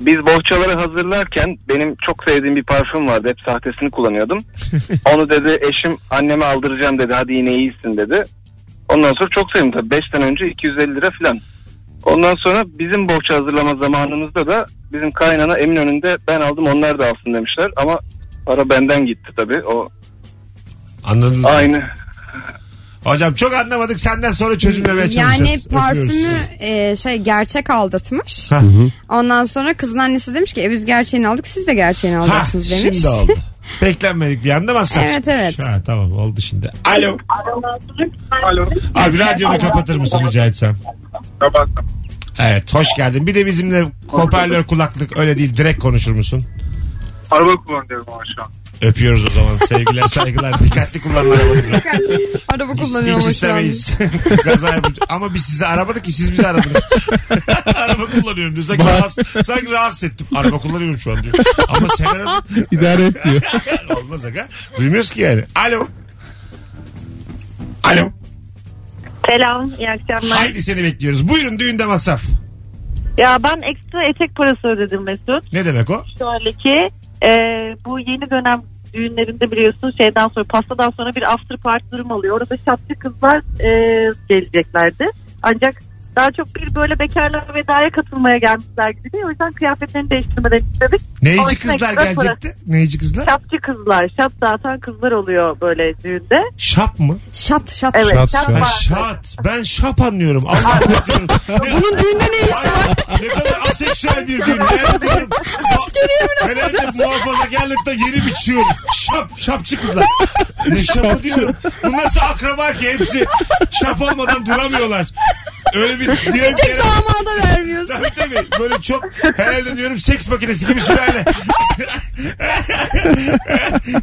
Biz bohçaları hazırlarken benim çok sevdiğim bir parfüm vardı. Hep sahtesini kullanıyordum. Onu dedi eşim anneme aldıracağım dedi. Hadi yine iyisin dedi. Ondan sonra çok sevdim tabii. 5 sene önce 250 lira falan. Ondan sonra bizim bohça hazırlama zamanımızda da bizim kaynana emin önünde ben aldım onlar da alsın demişler. Ama para benden gitti tabii. O
Anladınız mı?
aynı.
Hocam çok anlamadık senden sonra çözümlemeye çalışacağız.
Yani parfümü
Öpüyoruz.
e, şey gerçek aldatmış.
Ha.
Ondan sonra kızın annesi demiş ki e, biz gerçeğini aldık siz de gerçeğini
Ha,
alacaksınız demiş.
şimdi oldu. Beklenmedik bir anda masraf.
Evet,
çıkmış.
evet.
Ha, tamam oldu şimdi. Alo.
Alo.
Abi radyonu kapatır mısın rica etsem?
Kapattım.
Evet hoş geldin. Bir de bizimle hoparlör kulaklık öyle değil direkt konuşur musun?
Araba kullanıyorum ama şu an.
Öpüyoruz o zaman. Sevgiler saygılar. Dikkatli kullanın arabanızı.
Araba kullanıyor
Hiç
ama şu an.
istemeyiz. Gaza yapınca. Ama biz sizi aramadık ki siz bizi aradınız. Araba kullanıyorum diyor. Sanki,
Bak.
rahatsız, sanki rahatsız ettim. Araba kullanıyorum şu an diyor. Ama sen aradın.
İdare et diyor.
Olmaz aga. Duymuyoruz ki yani. Alo. Alo.
Selam, iyi akşamlar.
Haydi seni bekliyoruz. Buyurun düğünde masraf.
Ya ben ekstra etek parası ödedim Mesut.
Ne demek o?
Şöyle ki e, bu yeni dönem düğünlerinde biliyorsun şeyden sonra pastadan sonra bir after party durum oluyor. Orada şapçı kızlar e, geleceklerdi. Ancak
Daha çok bir böyle bekarlar vedaya katılmaya gelmişler gibi. O yüzden kıyafetlerini değiştirmeden istedik. Onun
Neyici
için
kızlar
ekstra para.
gelecekti? Neyici kızlar?
Şapçı kızlar, şap dağıtan kızlar oluyor böyle düğünde.
Şap mı?
Şat şat.
Evet,
Şap,
şap,
şap.
var.
Ha, şat. Ben şap anlıyorum. Allah anlatıyorum.
Bunun düğünde ne işi var?
ne kadar aseksüel bir gün. Ben diyorum.
Askeriye mi?
Herhalde muhafazakarlıkta yeni bir çığır. Şap, şapçı kızlar. Ne şapı diyorum. Bu nasıl akraba ki hepsi şap olmadan duramıyorlar. Öyle bir diyorum ki.
Tek damada vermiyorsun.
Tabii tabii. Böyle çok herhalde diyorum seks makinesi gibi sülale.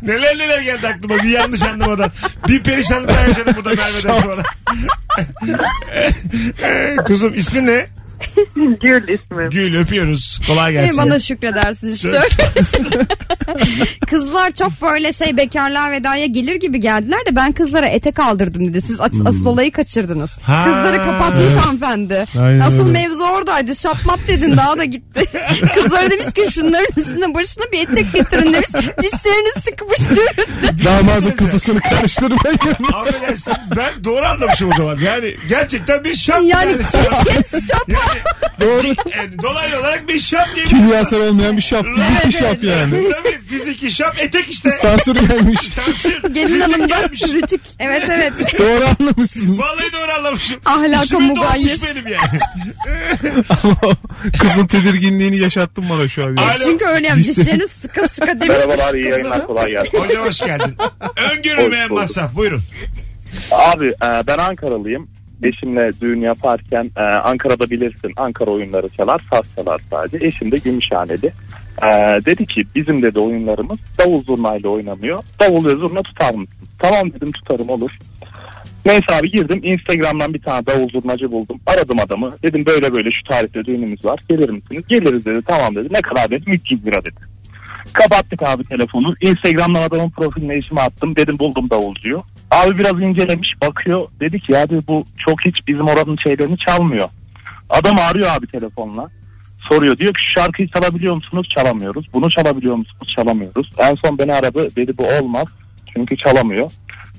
neler neler geldi aklıma bir yanlış anlamadan. Bir perişanlık daha yaşadım burada Merve'den sonra. Kızım ismin ne?
Gül ismi.
Gül öpüyoruz. Kolay gelsin.
Bana şükredersiniz işte. Kızlar çok böyle şey bekarlığa vedaya gelir gibi geldiler de ben kızlara ete kaldırdım dedi. Siz as-
Hmm.
asıl olayı kaçırdınız.
Ha,
Kızları kapatmış hanımefendi.
Aynen
asıl
öyle.
mevzu oradaydı. Şapmat dedin daha da gitti. Kızlara demiş ki şunların üstüne başına bir etek getirin demiş. Dişleriniz çıkmış düğünde.
Damadın kafasını karıştırmayın.
Affedersin ben doğru anlamışım o zaman. Yani gerçekten bir şap.
Yani
yani.
keşke şap.
Yani,
Doğru.
yani dolaylı olarak bir şap diye.
Kimyasal olmayan bir şap. Fizik bir
Evet,
şap yani.
Tabii fiziki şap etek işte.
Sansür gelmiş.
Sansür.
Gelin
Rütük
hanımda
gelmiş.
rütük. Evet evet.
Doğru anlamışsın.
Vallahi doğru anlamışım.
Ahlaka
İşime
mugayyir.
doğmuş benim yani.
Kızın tedirginliğini yaşattın bana şu an. ya.
Alo.
Çünkü öyle yani dişleriniz sıkı sıkı demiş.
Merhabalar iyi
kızlara.
yayınlar kolay gelsin.
Hocam hoş geldin. Öngörülmeyen
Hoş bulduk.
masraf buyurun.
Abi e, ben Ankaralıyım. Eşimle düğün yaparken e, Ankara'da bilirsin Ankara oyunları çalar, saz çalar sadece. Eşim de Gümüşhaneli. E, dedi ki bizim dedi oyunlarımız davul zurnayla oynamıyor. Davul ve zurna tutar mısın? Tamam dedim tutarım olur. Neyse abi girdim Instagram'dan bir tane davul zurnacı buldum. Aradım adamı. Dedim böyle böyle şu tarihte düğünümüz var. Gelir misiniz? Geliriz dedi. Tamam dedi. Ne kadar dedim? 300 lira dedi. Kapattık abi telefonu. Instagram'dan adamın profiline işimi attım. Dedim buldum davulcuyu. Abi biraz incelemiş bakıyor. Dedi ki ya dedi, bu çok hiç bizim oranın şeylerini çalmıyor. Adam arıyor abi telefonla. Soruyor diyor ki şu şarkıyı çalabiliyor musunuz? Çalamıyoruz. Bunu çalabiliyor musunuz? Çalamıyoruz. En son beni aradı dedi bu olmaz. Çünkü çalamıyor.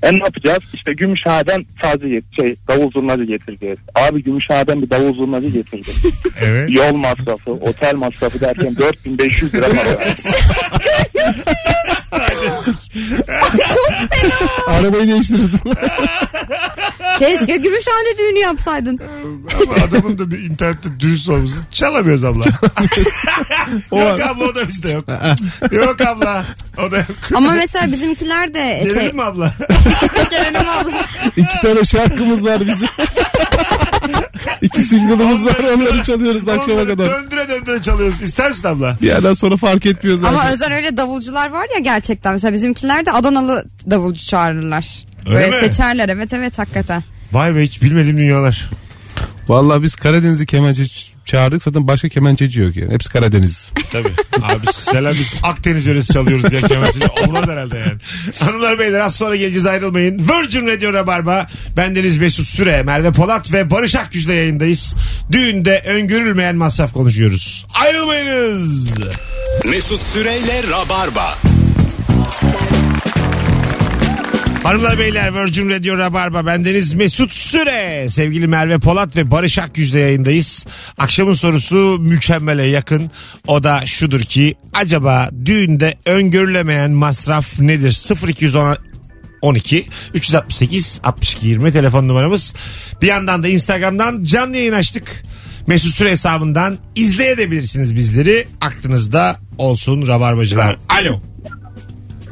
E ne yapacağız? İşte Gümüşhane'den sadece yet- şey, davul zurnacı getireceğiz. Abi Gümüşhane'den bir davul zurnacı getirdim.
Evet.
Yol masrafı, otel masrafı derken 4500 lira var.
Arabayı değiştirdin.
Keşke Gümüşhane düğünü yapsaydın.
Ama adamın da bir internette dürüst olması. Çalamıyoruz abla. yok abla o da bizde yok. yok abla. O da yok.
Ama mesela bizimkiler de
Gelelim
şey
mi abla?
Gelelim abla.
İki tane şarkımız var bizim. İki single'ımız var onları çalıyoruz akşama
Onları
kadar.
Döndüre döndüre çalıyoruz. İster misin abla?
Bir yerden sonra fark etmiyoruz
Ama
artık.
özel öyle davulcular var ya gerçekten. Mesela bizimkiler de Adanalı davulcu çağırırlar.
Öyle
Böyle
mi?
seçerler evet evet hakikaten.
Vay be hiç bilmediğim dünyalar.
Vallahi biz Karadeniz'i kemençe ç- çağırdık zaten başka kemençeci yok yani. Hepsi Karadeniz.
Tabii. Abi selam biz Akdeniz yöresi çalıyoruz diye kemençeli. Olmaz herhalde yani. Hanımlar beyler az sonra geleceğiz ayrılmayın. Virgin Radio Rabarba. Bendeniz Mesut Süre, Merve Polat ve Barış Akgüz'le yayındayız. Düğünde öngörülmeyen masraf konuşuyoruz. Ayrılmayınız.
Mesut Süreyle Rabarba.
Hanımlar beyler Virgin Radio Rabarba bendeniz Mesut Süre. Sevgili Merve Polat ve Barış Akgüz'le yayındayız. Akşamın sorusu mükemmele yakın. O da şudur ki acaba düğünde öngörülemeyen masraf nedir? 0210 12 368 62 20 telefon numaramız. Bir yandan da Instagram'dan canlı yayın açtık. Mesut Süre hesabından izleyebilirsiniz bizleri. Aklınızda olsun Rabarbacılar. Alo.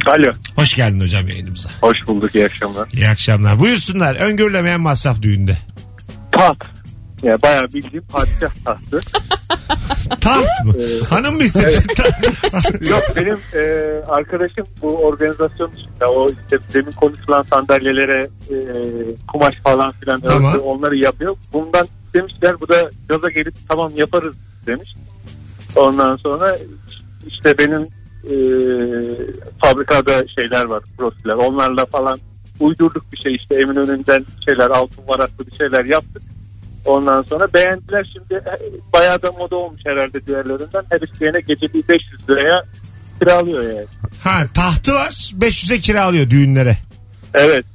Alo.
Hoş geldin hocam yayınımıza.
Hoş bulduk iyi akşamlar.
İyi akşamlar. Buyursunlar. Öngörülemeyen masraf düğünde.
Taht. Ya bayağı bildiğim padişah tahtı.
Taht mı? Hanım mı istedin?
Yok benim e, arkadaşım bu organizasyon içinde o işte demin konuşulan sandalyelere e, kumaş falan filan ördü,
Tamam.
onları yapıyor. Bundan demişler bu da gaza gelip tamam yaparız demiş. Ondan sonra işte benim e, fabrikada şeyler var profiller onlarla falan uydurduk bir şey işte Eminönü'nden şeyler altın varaklı bir şeyler yaptık. Ondan sonra beğendiler şimdi e, bayağı da moda olmuş herhalde diğerlerinden. Her isteyene gece bir 500 liraya kiralıyor yani.
ha tahtı var. 500'e kiralıyor düğünlere.
Evet.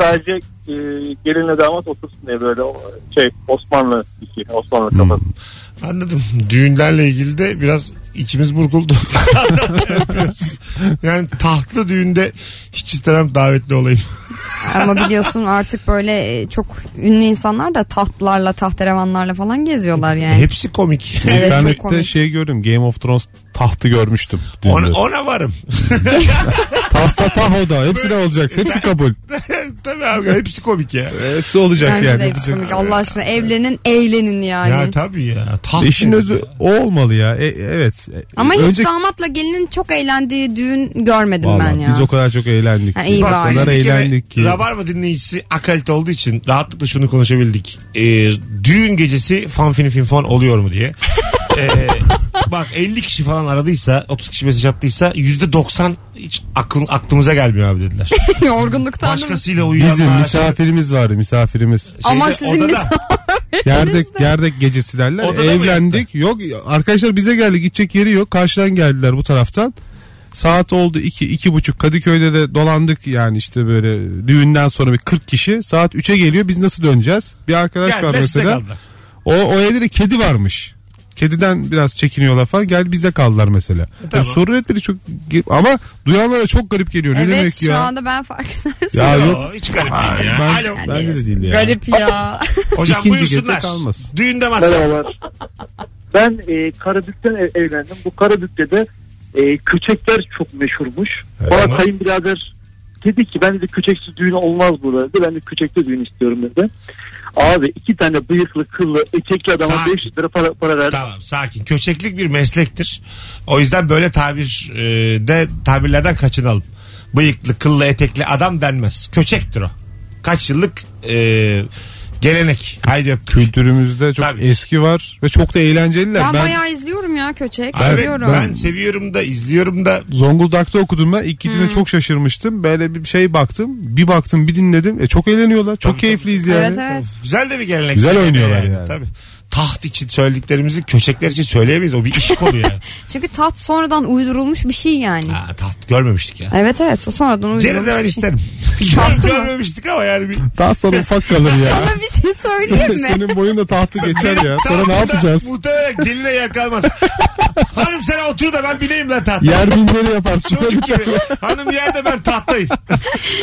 Sadece
e, gelinle damat otursun diye böyle o- şey Osmanlı iki Osmanlı kafası.
Anladım. Düğünlerle ilgili de biraz içimiz burkuldu. Öpüyoruz. yani tahtlı düğünde hiç istemem davetli olayım.
Ama biliyorsun artık böyle e, çok ünlü insanlar da tahtlarla tahterevanlarla falan geziyorlar yani.
Hepsi komik.
Evet, çok
İnternette
komik.
şey gördüm. Game of Thrones tahtı görmüştüm.
Ona,
Düğünde.
ona varım.
Tahsa tah o da. Hepsine olacak. Hepsi kabul.
Tabii abi hepsi komik ya.
Hepsi olacak
Bence
yani.
de hepsi komik. Allah aşkına evlenin eğlenin yani.
Ya tabii ya. Taht
İşin
nedir
E, özü
ya?
o olmalı ya. E, evet.
Ama hiç
Önce-
damatla gelinin çok eğlendiği düğün görmedim
Vallahi
ben ya.
Biz o kadar çok eğlendik.
Ha, iyi
o
bari.
kadar
Biz bir kere
eğlendik ki.
Rabarba dinleyicisi akalit olduğu için rahatlıkla şunu konuşabildik. Ee, düğün gecesi fanfini finfon oluyor mu diye. Ee, bak 50 kişi falan aradıysa 30 kişi mesaj attıysa %90 hiç aklın, aklımıza gelmiyor abi dediler.
Yorgunluktan da mı?
Başkasıyla
Bizim
uyuyanlar.
misafirimiz vardı misafirimiz.
Ama sizin
odada,
Yerdek yerdek gecesi derler.
Odada mı
Evlendik. Yok arkadaşlar bize geldi gidecek yeri yok. Karşıdan geldiler bu taraftan. Saat oldu 2 iki, iki buçuk Kadıköy'de de dolandık yani işte böyle düğünden sonra bir 40 kişi saat 3'e geliyor biz nasıl döneceğiz? Bir arkadaş var
geldiler, size
mesela.
kaldılar.
O, o evde de kedi varmış. Kediden biraz çekiniyorlar falan. Gel bize kaldılar mesela.
E, tamam.
Yani sorun etmedi çok ama duyanlara çok garip geliyor. Ne
Evet
demek
şu
ya?
anda ben farkındayım.
Ya
Yo,
yok.
Hiç garip değil ya.
Ben,
Alo.
bence de değil ya.
Garip ya.
Hocam
İkinci gece
buyursunlar.
kalmasın.
Düğünde masa.
Merhabalar. Ben e, Karabük'ten ev- evlendim. Bu Karabük'te de e, köçekler çok meşhurmuş.
Evet.
Bana kayınbirader dedi ki ben de köçeksiz düğün olmaz burada dedi. Ben de köçekli düğün istiyorum dedi. Abi iki tane bıyıklı kıllı etekli adama
Sakin.
500 lira para, para verdi.
Tamam sakin. Köçeklik bir meslektir. O yüzden böyle tabir e, de tabirlerden kaçınalım. Bıyıklı, kıllı, etekli adam denmez. Köçektir o. Kaç yıllık e, gelenek. Haydi öptük.
Kültürümüzde çok
Tabii.
eski var ve çok da eğlenceliler.
Ben,
ben
bayağı izliyorum ya köçek.
Evet,
seviyorum.
ben seviyorum da izliyorum da
Zonguldak'ta okudum ben. İlk
Hmm.
gidince çok şaşırmıştım. Böyle bir şey baktım. Bir baktım bir dinledim. E, çok eğleniyorlar. Çok keyifliyiz yani.
evet evet.
güzel de bir gelenek.
Güzel oynuyorlar yani.
Tabii. Taht için söylediklerimizi köçekler için söyleyemeyiz. O bir iş konu yani.
Çünkü taht sonradan uydurulmuş bir şey yani.
ha, taht görmemiştik ya.
Evet evet o sonradan
Gene
uydurulmuş.
de ben
bir şey.
isterim. görmemiştik ama yani bir
Daha sonra ufak kalır ya.
Sana bir şey söyleyeyim mi?
Senin boyun da tahtı geçer ya. Sonra ne
Tahtında
yapacağız?
Muhtemelen geline yer kalmaz. Hanım sen otur da ben bineyim lan tahta.
Yer binleri yaparsın.
Çocuk gibi. Hanım yerde ben tahtayım.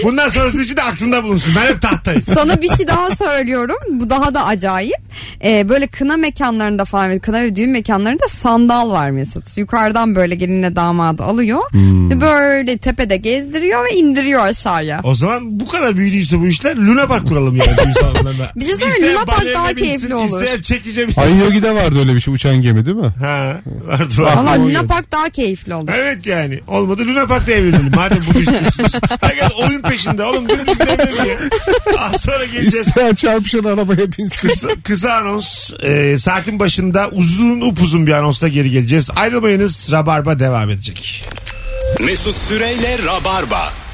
Bundan sonrası için de aklında bulunsun. Ben hep tahtayım.
Sana bir şey daha söylüyorum. Bu daha da acayip. Ee, böyle kına mekanlarında falan, kına ve düğün mekanlarında sandal var Mesut. Yukarıdan böyle gelinle damadı alıyor. Böyle tepede gezdiriyor ve indiriyor aşağıya.
Hmm. O zaman bu kadar büyüdüyse bu işler Luna Park kuralım yani. düğün salonlarına.
Bir şey söyleyeyim,
İsteyen
Luna Park
balerine
daha
binsin,
keyifli olur.
İsteyen çekeceğim.
Ay Yogi'de vardı öyle bir şey uçan gemi değil mi?
Ha, vardır var.
Valla
Aklıma
Luna
geldi.
Park daha keyifli olur.
Evet yani. Olmadı Luna Park'ta evlenelim. Madem bunu istiyorsunuz. Herkes oyun peşinde. Oğlum dün biz de evlenelim ya. Az sonra geleceğiz.
İsteyen çarpışan arabaya binsin.
kısa, kısa anons. Ee, saatin başında uzun upuzun bir anonsla geri geleceğiz. Ayrılmayınız. Rabarba devam edecek.
Mesut Süreyle Rabarba.